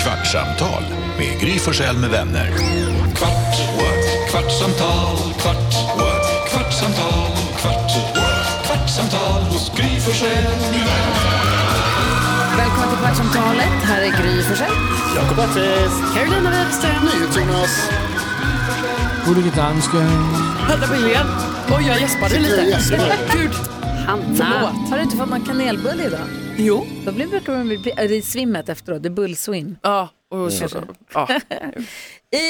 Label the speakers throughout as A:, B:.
A: Kvartsamtal med Gry Forssell med vänner. Kvart, what? kvartsamtal, kvart, what? kvartsamtal, kvart, what? kvartsamtal hos Gry Forssell med vänner.
B: Välkommen till Kvartsamtalet. Här är Gry Forssell.
C: Jakob Attefors. Carolina Webster. NyhetsJonas.
D: Gullige dansken.
E: Vänta på Helene. Oj, jag gäspade lite. Gud. Ah.
B: Hanna. Har du inte fått någon kanelbulle idag?
E: Jo.
B: Då blir, brukar man bli, är det svimmet efteråt, det är bullswim.
E: Ja, och så. Ja.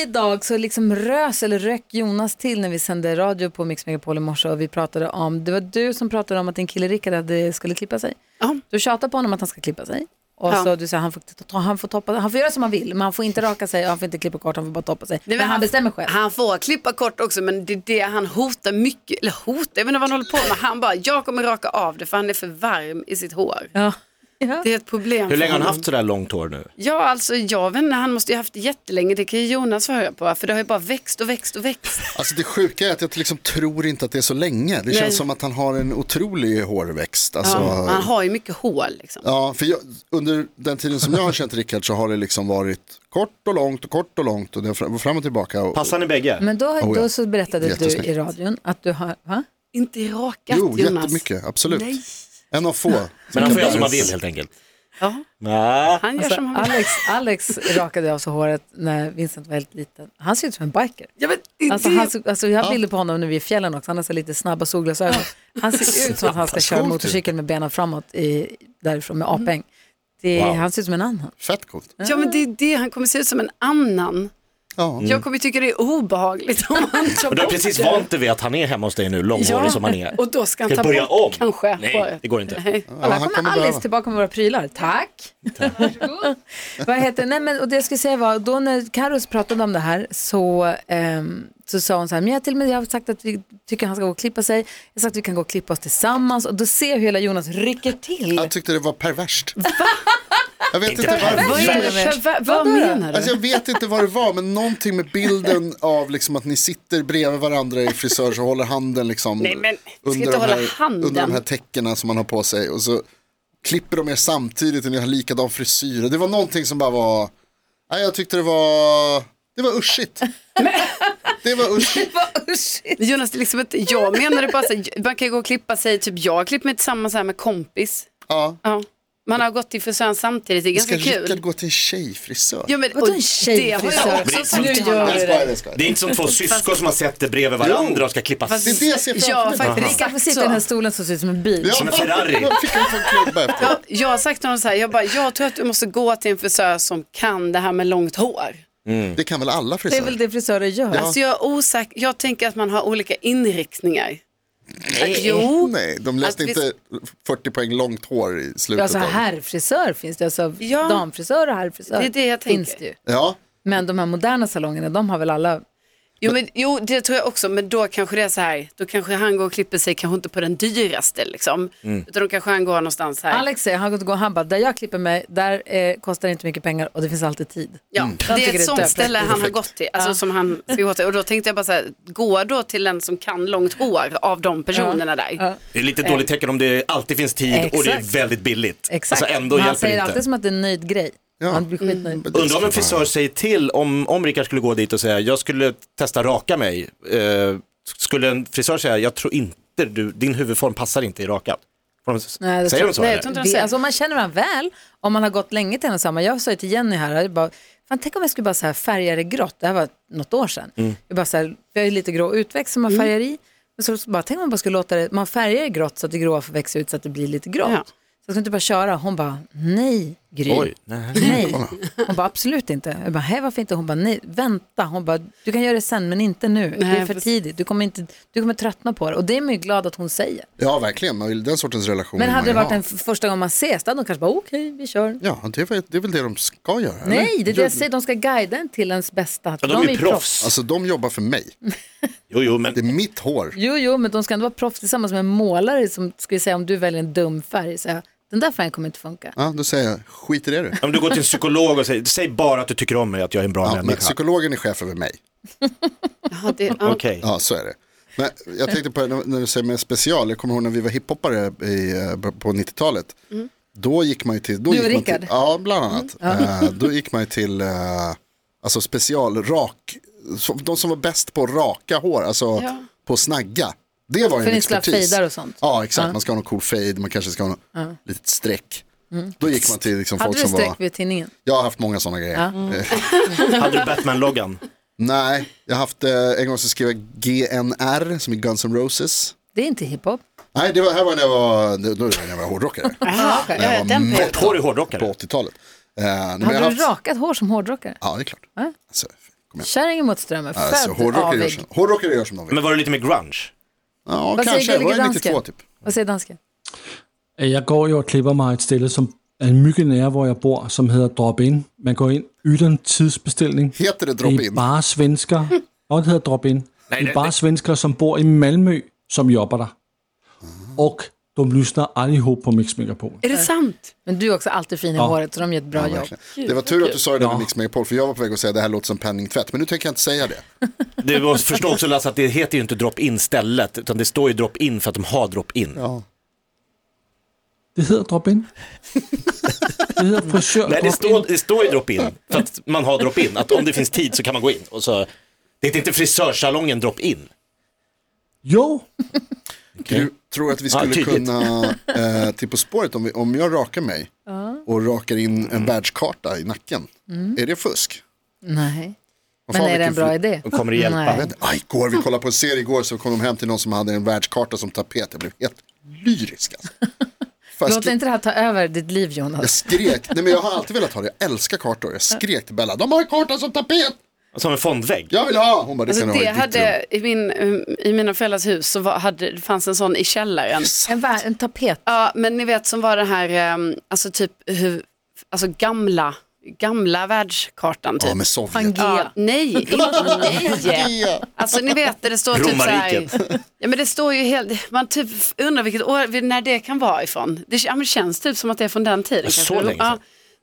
B: Idag så liksom rös eller rök Jonas till när vi sände radio på Mix Megapol i morse och vi pratade om, det var du som pratade om att din kille Rickard hade, skulle klippa sig.
E: Ja.
B: Du tjatar på honom att han ska klippa sig. Och
E: Ja.
B: så du säger han får, ta- han, får toppa, han får göra som han vill, men han får inte raka sig, och han får inte klippa kort, han får bara toppa sig. men
E: men
B: han,
E: han-
B: bestämmer själv.
C: Han får klippa kort också men det är det han hotar mycket, eller hotar, jag vet inte vad han håller på med. Han bara, jag kommer raka av det för han är för varm i sitt hår.
B: Ja. Ja.
C: Det är ett problem
F: Hur
C: för
F: länge har han
C: honom.
F: haft sådär långt hår nu?
C: Ja alltså jag vet inte, han måste ju ha haft det jättelänge, det kan ju Jonas höra på. För det har ju bara växt och växt och växt.
G: Alltså det sjuka är att jag liksom tror inte att det är så länge. Det känns som att han har en otrolig hårväxt. Alltså,
C: Ja, han
G: ja.
C: har ju mycket hål liksom.
G: för jag, under den tiden som jag har känt Rickard så har det liksom varit kort och långt och kort och långt och det har fram fram och tillbaka. Och,
F: Passar ni Alltså, bägge?
B: Men då,
G: Oh, ja.
B: då så berättade du
G: Jättesnyggt.
B: i radion att du har, va?
C: Inte rakat
G: jo,
C: Jonas.
G: jättemycket, absolut. En av få.
F: Men han får göra som han
G: man
F: vill helt enkelt.
C: Ja,
F: Nej.
C: han gör
B: Alltså,
C: som han vill.
B: Alex, Alex rakade av sig håret när Vincent var helt liten. Han ser ut som en biker.
C: Jag vet, det,
B: Alltså,
C: det-
B: han, såg- alltså, jag har bilder på honom nu i fjällen också. Han har så lite snabba solglasögon. Han ser ut som att han ska köra
G: Coolt ju.
B: motorcykel med benen framåt i, därifrån med apäng. Det,
F: Wow.
B: Han ser ut som en annan.
G: Fett coolt.
C: Ja men det är det, han kommer se ut som en annan.
G: Ja.
C: Jag kommer tycka det är obehagligt om han tar
F: Och du har
C: bort
F: precis
C: det.
F: vant dig vid att han är hemma hos dig nu, långhårig som han är.
C: och då ska han
F: Ska
C: ta
F: börja
C: bort
F: om?
C: kanske
F: Nej,
C: håret.
F: det går inte.
C: Nej.
G: Ja,
B: Och här
G: han
B: kommer Alice
G: behöva-
B: tillbaka med våra prylar. Tack! Vad heter Nej, men, och det jag skulle säga var, då när Carros pratade om det här så, ehm, så sa hon så här, men jag, har till och med, jag har sagt att vi tycker han ska gå och klippa sig. Jag har sagt att vi kan gå och klippa oss tillsammans och då ser jag hur hela Jonas rycker till.
G: Jag tyckte det var perverst. Jag vet inte
C: Vad,
G: varför.
C: är det, för- vad, vad menar du?
G: Alltså jag vet inte vad det var, men någonting med bilden av liksom att ni sitter bredvid varandra i frisör så håller handen liksom
C: Nej, men ska
G: under,
C: inte
G: de
C: hålla
G: här,
C: handen.
G: under de här täckena som man har på sig och så klipper de er samtidigt och ni har likadan frisyr. Och Det var någonting som bara var, nej jag tyckte det var, det var uschigt. Det var uschigt.
B: Oh,
C: Jonas, det är liksom inte, jag menar det bara så här, man kan ju gå och klippa sig, typ jag klipper mig tillsammans här med kompis.
G: Ja.
C: Ja. Man har gått till frisören samtidigt, det är
G: Ska
C: ganska
G: Rickard
C: kul.
G: gå till en tjejfrisör?
C: Ja, men,
B: Vadå en
C: och
B: tjejfrisör?
C: Det har jag
F: Men det är
C: också sagt
F: sant.
C: till
G: Nej,
C: honom.
G: jag skojar, jag skojar.
F: Det är inte som två syskon som har sett det bredvid varandra och ska klippa
G: Det är det jag ser
C: Ja,
G: framför mig.
C: faktiskt.
B: Rickard får
C: Exakt
B: sitta i den här
C: så.
B: stolen som ser ut som en bil.
F: Som en Ferrari.
G: Jag fick en sån klubba efter.
C: Ja, Jag har sagt till honom så här, jag, bara, jag tror att du måste gå till en frisör som kan det här med långt hår.
G: Det kan väl alla
B: Det är
G: frisörer?
B: väl det frisörer gör.
C: Alltså jag är osäker, jag tänker att man har olika inriktningar. Att, jo,
G: Eh, Nej, de läste
C: Att vi-
G: inte 40 poäng långt hår i slutet.
B: Alltså
G: av-
B: herrfrisör finns det, alltså
C: Ja.
B: damfrisör och herrfrisör
C: Det är det jag
B: finns
C: tänker.
B: det ju.
G: Ja,
B: Men de här moderna salongerna, de har väl alla,
C: jo, men, jo, det tror jag också, men då kanske det är så här, då kanske han går och klipper sig, kanske inte på den dyraste liksom,
G: Mm.
C: utan då kanske han går någonstans här.
B: Alex säger, han går och går, han bara, där jag klipper mig, där eh, kostar det inte mycket pengar och det finns alltid tid.
C: Ja,
G: Mm.
B: Jag tycker
C: Det är
B: det är
C: ett sånt
B: perfekt.
C: ställe han har gått till, alltså som han ska gå till. Och då tänkte jag bara så här, gå då till den som kan långt hår av de personerna där.
F: Det är lite dåligt tecken om det alltid finns tid och det är
B: Exakt.
F: väldigt billigt.
B: Exakt.
F: Alltså ändå
B: Men han
F: hjälper
B: säger
F: det
B: alltid
F: inte.
B: som att det är en nöjd grej.
G: Ja. Mm,
B: Han blir skitnöjd.
F: Undrar om en frisör säger till om, om Rickard skulle gå dit och säga jag skulle testa raka mig. Eh, skulle en frisör säga jag tror inte du, din huvudform passar inte i rakat. Får de,
B: Nej, det
F: säger
B: tror-
F: de så?
C: nej, jag
F: eller?
C: tror inte
B: Det, alltså, om man känner varandra väl, om man har gått länge till en och samma. Jag sa ju till Jenny här, jag bara, Fan, tänk om jag skulle bara så här färga det grått, det här var något år sedan.
F: Mm.
B: Jag, bara så här, jag har ju lite grå utväxt som man färgar i. Men så, så bara, tänk om man bara skulle låta det, man färgar det grått så att det gråa får växa ut så att det blir lite grått.
C: Ja.
B: Så jag skulle inte bara köra, hon bara nej Gry.
F: Oj, nej.
B: Nej. Hon bara absolut inte. Jag bara, hej varför inte? Hon bara, nej vänta. Hon bara, du kan göra det sen men inte nu. det är
C: Nej,
B: för
C: precis.
B: tidigt. Du kommer, inte, du kommer tröttna på det. Och det är man ju glad att hon säger.
G: ja verkligen. Man vill- Den sortens relation
B: Men
G: vill
B: hade det
G: man ju
B: varit
G: ha.
B: den f- första gången man ses, då hade de kanske bara, okej vi kör.
G: Oh Ja, det, var, det är väl det de ska göra? eller?
B: Nej, det är det jag säger, de ska guida en till ens bästa.
F: Ja, de är ju proffs.
G: Alltså de jobbar för mig.
F: Jo, jo, men
G: Det är mitt hår.
B: Jo, jo, men de ska ändå vara proffs tillsammans med en målare som, ska vi säga om du väljer en dum färg, säga, den där färgen kommer inte funka.
G: Ja, då säger jag, skit i det du.
F: Om du går till en psykolog och säger, säg bara att du tycker om mig, att jag är en bra
G: Ja, men
F: människa.
G: psykologen är chef över mig.
C: Ja, det, ja.
F: Okej.
G: Ja, så är det. Men jag tänkte på när när du säger med special, jag kommer ihåg när vi var hiphoppare i, eh, på 90-talet. Då gick man ju till... Då
B: Mm. Du och
G: gick man till,
B: Rickard? Mm,
G: Ja, bland annat. Eh, då gick man ju till eh, alltså specialrak, så- de som var bäst på att raka hår, alltså
C: Ja.
G: på att snagga. Det var ju
B: För
G: en
B: ni skulle ha
G: expertis.
B: fejdar och sånt.
G: Ja, exakt. Man ska ha någon cool fade, man kanske ska ha något litet streck. Då gick man till liksom folk
B: Mm. Hade du
G: som var...
B: streck vid tinningen?
G: Jag har haft många sådana grejer. Eh,
F: Hade du Batman-loggan?
G: Nej, jag har haft, eh, en gång så skrev jag GNR som är Guns N' Roses.
B: Det är inte hiphop.
G: Nej, det var, här var när jag var, då var det när jag var hårdrockare.
B: Äh,
C: Aha,
B: okej.
C: ja, den perioden.
F: Ett hår i
G: på
F: hårdrockare.
G: 80-talet. Eh, nej, men jag
B: Hade
G: har
B: du
G: haft-
B: rakat hår som hårdrockare?
G: Ja, det är klart. Alltså, kom igen.
B: Kärringen mot strömmen,
G: Alltså,
B: född
G: hårdrockare, gör
B: avig.
G: som, hårdrockare gör som de vill.
F: Men var det lite mer grunge?
G: Ja,
B: Vad säger
G: kanske. Det var
B: Gullige
G: ju
B: Dansken?
G: 92 typ.
B: Vad säger dansken?
D: Øh, Jeg går jo og klipper mig et sted, som er mygge nære, hvor jeg bor, som hedder Drop In. Man går ind, yder en tidsbestilling.
G: Heter det drop
D: Det er
G: in?
D: bare svensker. Nå, det hedder Drop In. Det er
F: det-
D: bare svensker, som bor i Malmø, som jobber der. Og de lyssnar allihop på Mix Megapol.
C: Är det sant?
B: Men du är också alltid fin i håret så de gör ett bra jobb.
G: Det var tur att du sa det där med Mix Megapol, för jag var på väg att säga det här låter som penningtvätt, men nu tänker jag inte säga det.
F: Du måste förstå också Lasse att det heter ju inte drop-in stället, utan det står ju drop-in för att de har drop-in.
D: Det hedder Drop In. Det hedder frisør
F: Nej, det
D: Drop In.
F: står, det står ju drop-in för att man har drop-in, att om det finns tid så kan man gå in. Och så, det heter inte frisörsalongen drop-in.
D: Jo,
G: Du tror att vi
F: Ja,
G: skulle
F: tydligt.
G: kunna, eh, till På spåret, om, vi, om jag rakar mig och rakar in en världskarta i nacken,
B: Mm.
G: är det fusk?
B: Nej.
G: Vad
B: Men
G: fan,
B: är det en
G: vilken
B: bra
G: fri-
B: idé?
F: Och kommer det hjälpa?
G: Jag vet inte. Ah, igår, vi kollade på en serie igår så kom de hem till någon som hade en världskarta som tapet. Jag blev helt lyrisk. Alltså. Fan,
B: Låt
G: jag, skrek,
B: inte det här ta över ditt liv
G: jag
B: Jonas.
G: skrek, nej men jag har alltid velat ha det, jag älskar kartor. Jag skrek till Bella, de har en karta som tapet,
F: Som en fondvägg.
G: jag vill ha. Hon bara, det
C: Alltså,
G: kan du
C: det
G: ha i ditt rum.
C: hade, i, min, I mina föräldrars hus så var, hade, det fanns en sån i källaren.
B: En, vär- en tapet.
C: Ja, men ni vet som var den här, ehm, alltså typ hur, alltså gamla, gamla världskartan typ.
G: Ja, med Sovjet.
C: Ja,
B: Pangea.
C: nej, inte nej.
G: Ja.
C: Alltså ni vet där det står typ så här,
F: Romarriket.
C: ja men det står ju helt, man typ undrar vilket år, när det kan vara ifrån. Det ja, men känns typ som att det är från den tiden.
F: Så
C: kanske.
F: länge
C: Ja,
F: sedan.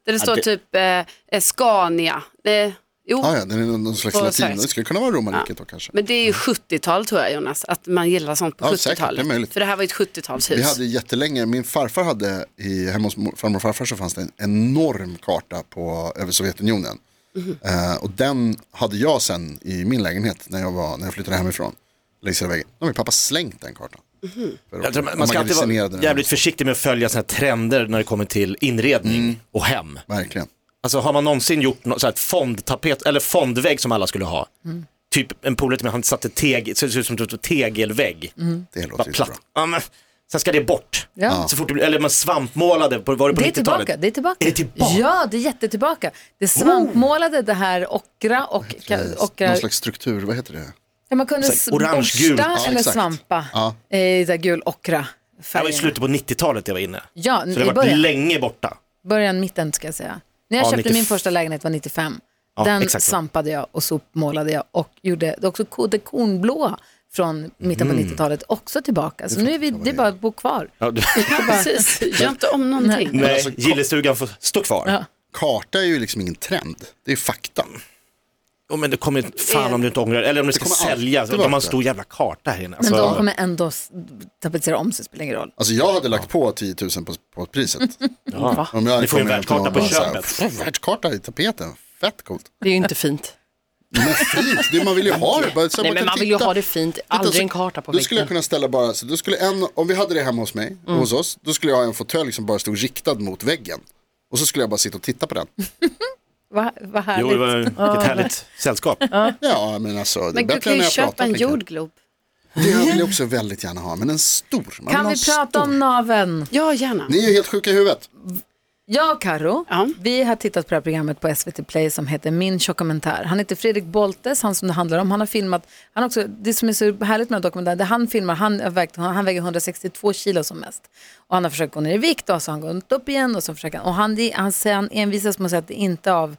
C: där det står
F: det-
C: typ eh, eh, Scania. Eh, jo,
G: Ah, ja, den är någon slags
C: På
G: latin, det
C: svensk.
G: skulle kunna vara romarriket då kanske. Mm.
C: men det är ju 70-tal tror jag Jonas, att man gillar sånt på
G: Ja, säkert, det är
C: 70-talet.
G: möjligt.
C: För det här var ju ett 70-talshus.
G: Vi hade jättelänge, min farfar hade, i, hemma hos mor- farmor och farfar så fanns det en enorm karta på, över Sovjetunionen. Eh, och den hade jag sen i min lägenhet när jag, var, när jag flyttade hemifrån. Längs hela vägen. Då har min pappa slängt den kartan. För
F: Jag tror
G: att-
F: man, man ska alltid vara
G: magasinerade den.
F: jävligt försiktig med att följa såna här trender när det kommer till inredning
G: Mm.
F: och hem.
G: Verkligen.
F: Alltså har man någonsin gjort något, så här, ett fondtapet, eller fondvägg som alla skulle ha.
B: Mm.
F: Typ en polare till mig, han satte teg, så det ser ut som typ en tegelvägg.
G: Det låter
F: Bara
G: inte bra.
F: platt. Ja, men, sen ska det bort.
B: Mm. Ja.
F: Så fort det blir, eller man svampmålade, på, var det på
B: Det är
F: 90-talet?
B: tillbaka, det är tillbaka.
F: Är det tillbaka?
B: Ja, det är jättetillbaka. Det svampmålade det här ockra och... och eh,
G: Någon slags struktur, vad heter det?
B: ja, man kunde
F: Exakt, orange-gult.
B: borsta
G: Ja,
B: eller
G: exakt.
B: svampa
G: Ja.
B: eh, i där gul ockra.
F: Det här var
B: färgen.
F: i slutet på 90-talet jag var inne.
B: Ja,
F: Så det
B: i
F: har varit
B: början.
F: länge borta.
B: Början, mitten ska jag säga. När jag
F: Ja,
B: köpte
F: 95.
B: min första lägenhet var 95.
F: Ja,
B: Den
F: exakt så.
B: svampade jag och sopmålade jag och gjorde också ko- det kornblåa från mitten på 90-talet också tillbaka. Så nu är vi, det är bara att bo kvar.
F: Ja, du,
C: Precis, gör inte om någonting.
F: nej,
G: alltså, kom-
F: gillestugan får stå kvar. Ja.
G: Karta är ju liksom ingen trend, det är fakta.
F: men det kommer ju-
B: Eh.
F: fan om du inte ångrar dig. eller om du ska
G: kommer
F: sälja,
G: alltid
F: de har
G: vara
F: en stor jävla karta här inne.
B: Men
F: Alltså,
B: de kommer ändå s- tapetsera om sig, spelar ingen roll.
G: Alltså jag hade lagt på 10 000 på, på priset.
F: ja.
G: Om jag hade
F: Ni får ju en
G: kommit
F: världskarta
G: hem till någon
F: på
G: och bara så här,
F: köpet.
G: "Pff, Världskarta i tapeten, fett coolt.
E: Det är ju inte fint.
G: Men fint, det man vill ju ha det. Bara, så
E: Nej, men
G: kan
E: man vill ju
G: titta.
E: ha det fint.
G: Titta,
E: Aldrig
G: så-
E: en karta på
G: Då skulle jag
E: väggen. Mm.
G: kunna ställa bara, så då skulle en, om vi hade det hemma hos mig, hos oss, då skulle jag ha en fåtölj som bara stod riktad mot väggen. Och så skulle jag bara sitta och titta på den.
B: Vad vad härligt.
F: Jo, det var ett härligt sällskap.
G: Ja, men alltså, det är
C: Men du
G: bättre
C: kan
G: än
C: ju
G: när jag
C: köpa
G: pratar.
C: en
G: tänker jag.
C: jordglob.
G: Det vill jag också väldigt gärna ha, men en stor. Man vill
B: Kan
G: ha en
B: vi prata
G: stor.
B: om naven?
C: Ja, gärna.
G: Ni är ju helt sjuka i huvudet.
B: Jag och Karo,
C: Ja.
B: vi har tittat på det här programmet på SVT Play som heter Min dokumentär. Han heter Fredrik Boltes, han som det handlar om. Han har filmat, han också, det som är så härligt med den här dokumentären, det han filmar, han, har vägt, han väger 162 kilo som mest. Och han har försökt gå ner i vikt och så har han gått upp igen och så försöker han, och han, det- han, säger- han envisas med att säga att det är inte är av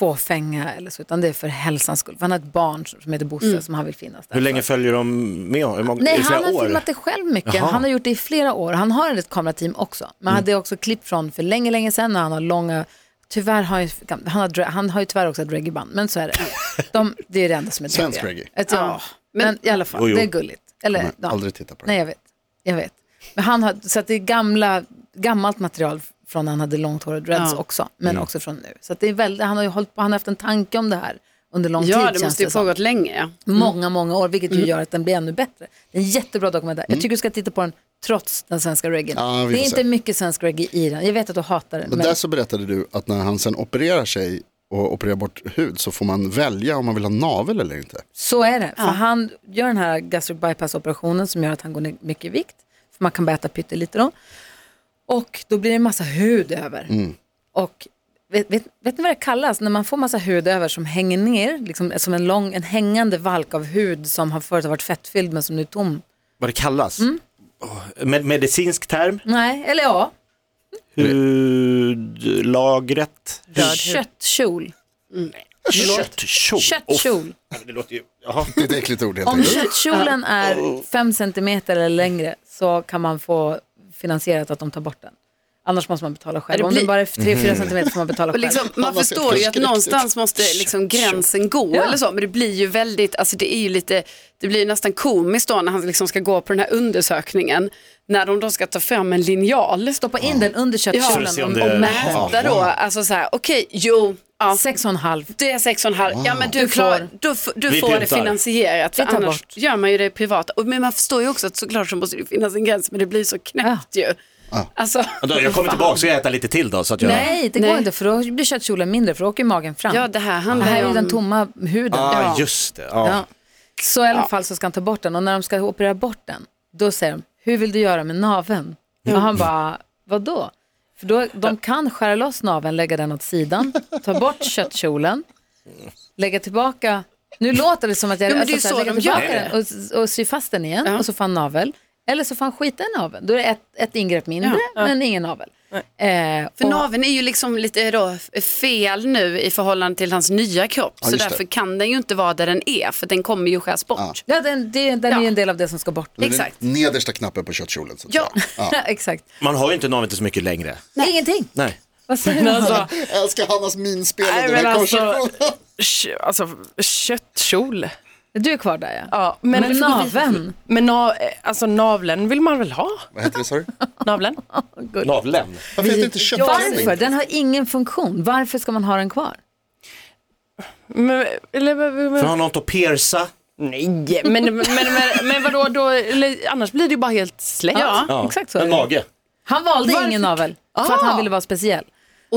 B: fåfänga eller så, utan det är för hälsans skull. För han har ett barn som heter Bosse som han vill finnas där.
F: Hur länge följer de med? Hur många,
B: Alltså. Nej,
F: i flera
B: han har
F: år?
B: filmat det själv mycket. Han har gjort det i flera år. Han har ett kamerateam också. Men
F: Mm.
B: han hade också klipp från för länge, länge sedan när han har långa... Tyvärr har han ju, han har, dra- han har ju tyvärr också ett reggaeband, men så är det. De, det är det enda som är
G: Svensk
B: drägliga.
G: reggae.
B: Ett, ja. men, i alla fall,
F: Jo, jo.
B: det är gulligt. Eller,
G: Nej,
B: ja.
G: aldrig titta på det.
B: Nej, jag vet. Jag vet. Men han har, så att det är gamla, gammalt material från när han hade långt hår och dreads
C: Ja.
B: också, men
F: Mm.
B: också från nu. Så att det är väldigt, han har ju hållit på, han har haft en tanke om det här under lång tid
C: Ja, det
B: känns
C: måste ju
B: som.
C: pågått länge. ja.
G: Mm.
B: Många, många år, vilket ju gör att den blir ännu bättre. Det är en jättebra dokumentär. Jag tycker du ska titta på den trots den svenska reggae.
G: Mm. Ja, vi får
B: det är inte
G: se.
B: mycket svensk reggae i den. Jag vet att du hatar den.
G: Men där så berättade du att när han sen opererar sig och opererar bort hud så får man välja om man vill ha navel eller inte.
B: Så är det. För han gör den här gastric bypass-operationen som gör att han går ner mycket i vikt. För man kan bara äta pyttelite då. Och då blir det en massa hud över.
G: Mm.
B: Och vet, vet, vet ni vad det kallas när man får massa hud över som hänger ner? Liksom, som en lång, en hängande valk av hud som har förut har varit fettfylld men som nu är tom.
F: Vad det kallas?
B: Mm.
F: Åh, Med, medicinsk term?
B: Nej, eller ja,
F: Mm. Hudlagret?
B: köttkjol.
F: Köttkjol?
B: Köttkjol.
F: Oh, det låter ju... Jaha.
G: Det är ett äckligt ord helt
B: Om
G: enkelt.
B: köttkjolen är fem centimeter eller längre så kan man få finansierat att de tar bort den. Annars måste man betala själv.
C: Ja, det
B: Om den
C: blir- Mm.
B: bara är tre fyra centimeter får man betala
C: Och
B: själv.
C: liksom, man
G: har sett
C: förstår ju att
G: förskräckligt.
C: någonstans måste liksom gränsen gå eller så, men det blir ju väldigt, alltså det är ju lite, det blir ju nästan komiskt då när han liksom ska gå på den här undersökningen, när de då ska ta fram en linjal.
B: Stoppa in den under
C: Ja.
F: För att se
B: köttkjolen
F: om det-
B: och, och mäta.
C: Mäta då, alltså så här, okej, jo, ja,
B: Sex och en halv.
C: det är sex och en halv, ja men du,
B: Du
C: klar,
B: får-
C: du, f- du
F: Vi
C: får det
F: pyntar.
C: finansierat, för
B: Vi tar
C: annars
B: bort.
C: gör man ju det privat. Och, men man förstår ju också att såklart så måste det finnas en gräns, men det blir så knäppt ju. Alltså,
F: Ja, då, Jag kommer tillbaka så jag äter lite till då. Så att jag...
B: Nej, det
C: Nej.
B: går inte för då blir köttkjolen mindre för då åker ju magen fram.
C: ja det här
B: det
C: handlar
B: här är
C: ju
B: ju
C: om...
B: den tomma huden.
F: Ah,
B: Ja.
F: just det. Ja.
B: Ja. Så i alla fall så ska han ta bort den och när de ska operera bort den, då säger de, hur vill du göra med naveln?
C: Mm.
B: Och han bara, vadå? För då, de kan skära loss naveln, lägga den åt sidan, ta bort köttkjolen, lägga tillbaka, nu låter det som att jag alltså,
C: Jo, men det är
B: här,
C: ju så
B: lägga
C: de gör
B: tillbaka den och, och sy fast den igen
C: Ja.
B: och så får han navel. Eller så får han skita i naveln, då är det ett, ett ingrepp mindre men ingen navel. Eh,
C: För
B: och-
C: naveln är ju liksom lite då fel nu i förhållande till hans nya kropp. så
G: just det.
C: därför kan den ju inte vara där den är, för den kommer ju skäras bort.
B: ja, den, det, den är
C: Ja.
B: ju en del av det som ska bort.
G: Det är
C: Exakt.
G: Den nedersta knappen på köttkjolen. Så att
C: Ja.
G: säga. ja.
B: Exakt.
F: Man har ju inte naveln så mycket längre.
B: Ingenting.
F: Nej.
B: Vad säger du?
C: alltså-
G: Jag älskar Hannas minspel
E: Nej,
G: under den
E: men
G: här
E: alltså-
G: konversationen.
E: Kö- Alltså köttkjol.
B: Du är kvar där ja.
E: Ja,
B: Men,
E: vi får gå vidare.
B: naveln.
E: Men na, alltså navlen vill man väl ha?
G: Vad heter det sa du?
E: Navlen?
F: Naveln.
G: Varför heter det inte köttkylling?
B: Varför? Den har ingen funktion. Varför ska man ha den kvar?
E: Men, eller, men,
F: För har något att pierca.
E: nej, men, men, men, men, men vadå, då, eller, annars blir det ju bara helt slätt.
C: Ja.
F: Ja.
B: Exakt så är
F: En
B: det.
F: mage.
B: Han valde
E: Varför?
B: ingen navel för att
E: Ah.
B: han ville vara speciell.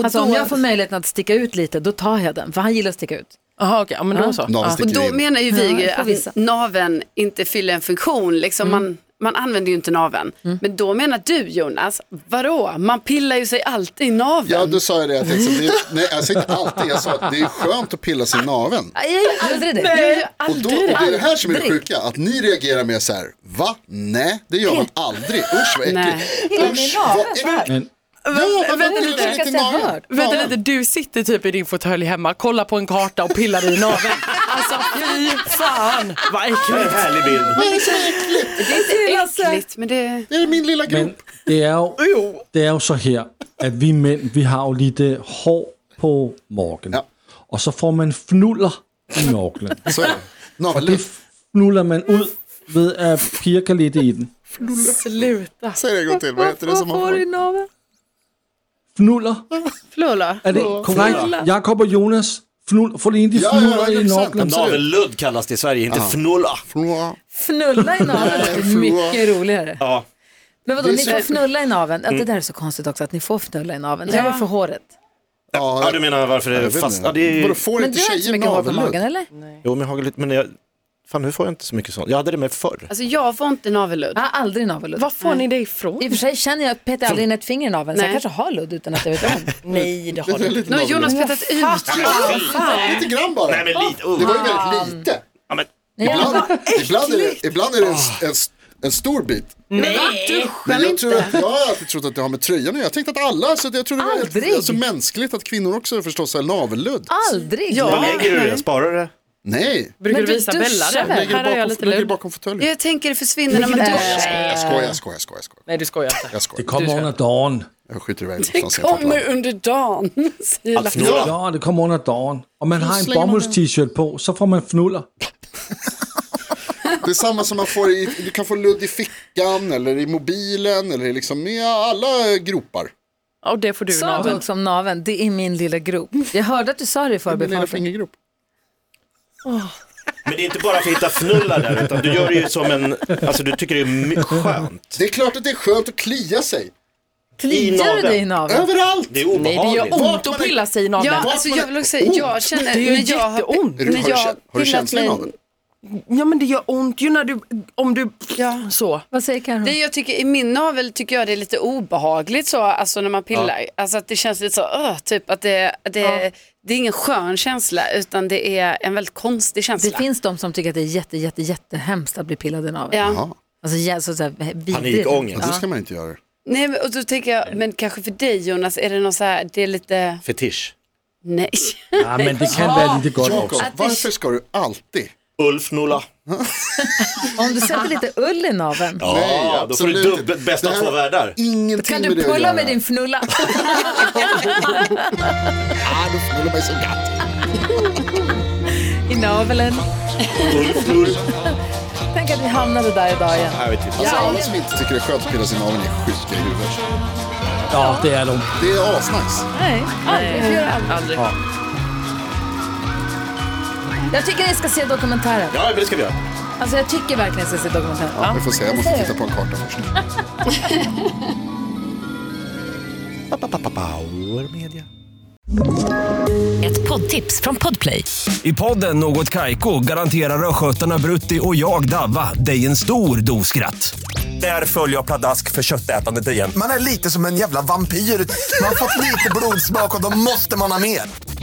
B: alltså
C: då-
B: om jag får möjligheten att sticka ut lite, då tar jag den. För han gillar att sticka ut.
E: Jaha, okej, ja, men då så.
G: Naveln
E: Ja.
C: Och
G: sticker
C: då
G: in.
C: menar ju
B: Ja,
C: vi
B: det får vissa.
C: att naveln inte fyller en funktion. Liksom man, man använder ju inte naveln. Men då menar du Jonas, vadå? Man pillar ju sig alltid i naveln.
G: Ja, du sa ju det. Jag tänkte, så, det är, nej, jag sa inte alltid. Jag sa att det är skönt att pilla sig i naveln.
B: Nej, Jag gör aldrig det.
C: Jag gör ju
G: Och, då,
C: aldrig
G: och det är det här som är det
B: Aldrig.
G: sjuka, att ni reagerar med så här, va? Nej, det gör man aldrig. Usch vad äckligt.
C: Nej.
B: Pillar mig i
G: Usch vad
B: naveln,
G: äckligt.
B: så här.
D: Men
G: Ja, men
E: vänta
G: varför
E: lite.
G: pillar sig
B: Jag
G: lite i
B: ska säga
G: naveln?
B: hört.
E: Vänta
G: Ja.
E: lite, du sitter typ i din fåtölj hemma, kollar på en karta och pillar i naveln. Alltså fy fan vad
F: En
E: äckligt.
F: härlig bild.
G: Vad är det som är äckligt?
C: Äckligt, men det...
G: Det är min lilla grop.
D: Men det er, jo, det er jo så her, at vi mænd, vi har jo lige det hår på morgen.
G: Ja.
D: Og så får man fnuller i navlen.
G: Så är det.
D: Det
G: Navelluff,
D: fnuller man ud ved at pirke lidt i den.
E: Sluta.
G: säg det en gång till. Vad heter det som man får?
B: naveln?
D: Fnuller.
C: Flula.
D: Er det korrekt? Jakob og Jonas, fnul, får lige de
G: Ja, ja,
D: fnuller i
G: 100%.
D: navlen.
G: Absolut.
F: Navelludd kallas det i Sverige, inte fnulla.
G: Flå.
B: Fnulla i
G: Nej,
B: naveln.
G: förlåt.
B: Mycket roligare.
F: Ja.
B: Men vadå,
G: Det är
B: ni
G: så-
B: får fnulla i naveln. Ja, det där är så konstigt också, att ni får fnulla i naveln. Det var för håret.
G: Ja,
F: ja, du menar varför det
G: jag
F: är
G: vet
F: fast...
G: inte.
F: Ja, det är...
G: Vadå, får
B: Men
G: inte
B: du har inte så
G: tjejer
B: mycket hår på
G: navelludd?
B: magen, eller?
F: Jo, men jag har lite... Men jag... Fan, nu får jag inte så mycket sånt. Jag hade det med förr.
C: Alltså jag får inte navelludd.
B: Jag har aldrig navelludd.
E: Var får ni det ifrån?
B: I och för sig känner jag att Peter aldrig in ett finger i naveln, så jag
C: Nej.
B: kanske har ludd utan att jag vet om.
E: Nej, det har
G: Det är
E: du
G: lite
C: Nu har
G: navelludd.
C: Jonas petat ut.
G: Lite grann bara.
F: Nej, men lite...
G: Det var
F: Oh.
G: ju väldigt lite.
F: Ja, men...
G: Ibland, ibland, är, det, ibland är det en, en, en stor bit.
E: Nej.
G: Men jag, tror att, jag har alltid trott att det har med tröjan att göra. Jag tänkte att alla, så att jag tror det var
B: Aldrig.
G: helt, alltså, mänskligt att kvinnor också förstås har navelludd.
B: Aldrig!
F: Vad lägger du det? Sparar du det?
G: Nej,
E: Brukar
B: Men
E: du
B: du
E: visa Bella
B: duschar väl?
E: det?
G: jag lägger
E: Här har
G: det
E: jag
G: bakom,
E: lite
G: lägger det
E: lud.
G: bakom fåtöljen.
C: Jag tänker det försvinner när man duschar.
G: Jag skojar, jag skojar, jag skojar. jag skojar.
E: Nej, du skojar inte.
G: Jag skojar.
D: Det kommer under dagen.
G: Jag skiter iväg
C: Det
G: någonstans. i ett
C: kommer
G: land.
C: under dagen, säger
F: Att
C: Lasse.
F: fnulla?
D: Ja, det kommer under dagen. Og man har en bomulds-t-shirt på, så får man fnuller.
G: Det är samma som man får i, du kan få ludd i fickan eller i mobilen eller i liksom i alla gropar.
E: Och det får du
B: Sa du
E: Navel.
B: också om naveln, det är min lilla grop. Jag hörde att du sa det i
G: Min lilla
B: förbifarten.
G: fingergrop.
F: Men det är inte bara för att hitta fnullar där, utan du gör det ju som en, alltså du tycker det är my- skönt.
G: Det är klart att det är skönt att klia sig.
B: Kliar du
F: naveln.
B: dig i naveln?
G: Överallt!
F: Det är
E: Nej, det gör
F: obehagligt.
E: ont att pilla sig i
C: Ja,
E: naveln.
C: alltså jag vill också säga, jag känner,
E: Det gör
C: när jag har,
E: jätteont.
G: Är du, har,
C: när
G: du,
C: jag
G: kä- har du
C: pillat
G: känsla i
C: mig-
G: naveln?
E: Ja, men det gör ont ju när du, om du,
C: Ja.
E: så.
B: Vad säger Karin?
C: Det jag tycker, I min navel tycker jag det är lite obehagligt så, alltså när man pillar. Alltså att det känns lite så, öh, typ att det, att det, det är ingen skön känsla utan det är en väldigt konstig känsla.
B: Det finns de som tycker att det är jätte, jätte, jättehemskt att bli pillad i naveln.
C: ja.
G: Jaha,
B: Alltså, jä- så, så här, vidrigt.
F: Panikångest.
G: ja. det ska man inte göra.
C: Nej, men, och då tänker jag, men kanske för dig Jonas, är det någon så här, det är lite,
F: Fetisch.
C: nej.
D: Ja, men det kan være lige godt
G: Jakob,
D: også.
C: Att det-
G: varför ska du alltid?
F: Ulf Nulla.
B: Om du sätter lite ull i naveln.
F: Ja, då får du
G: absolut inte.
F: dubbel, bästa
G: Det här
F: två
G: har
F: världar.
G: Ingenting
B: Kan
G: med det
B: du
G: att
B: pulla
G: göra.
B: med din fnulla?
G: Ah, du fnullar mig så gatt.
B: I naveln.
F: Ulf Nulla.
B: Tänk att vi hamnade där idag igen.
F: Jag vet inte.
G: Alltså alla som inte tycker det är skönt att pilla sig i naveln är sjuka i huvudet.
D: Nå, det er du.
G: Det är asnice.
B: Nej, aldrig. Vi gör aldrig.
E: Aldrig.
B: Jag tycker ni ska se dokumentären.
F: Ja, men det ska vi göra.
B: Alltså jag tycker verkligen ni ska se dokumentären.
G: Vi får se, jag måste
B: Vad säger
G: titta på en karta först.
F: Power Media.
H: Ett poddtips från Podplay.
I: I podden Något Kaiko garanterar östgötarna Brutti och jag, Davva, dig en stor dos skratt. Där följer jag pladask för köttätandet igen.
J: Man är lite som en jävla vampyr. Man har fått lite blodsmak och då måste man ha mer.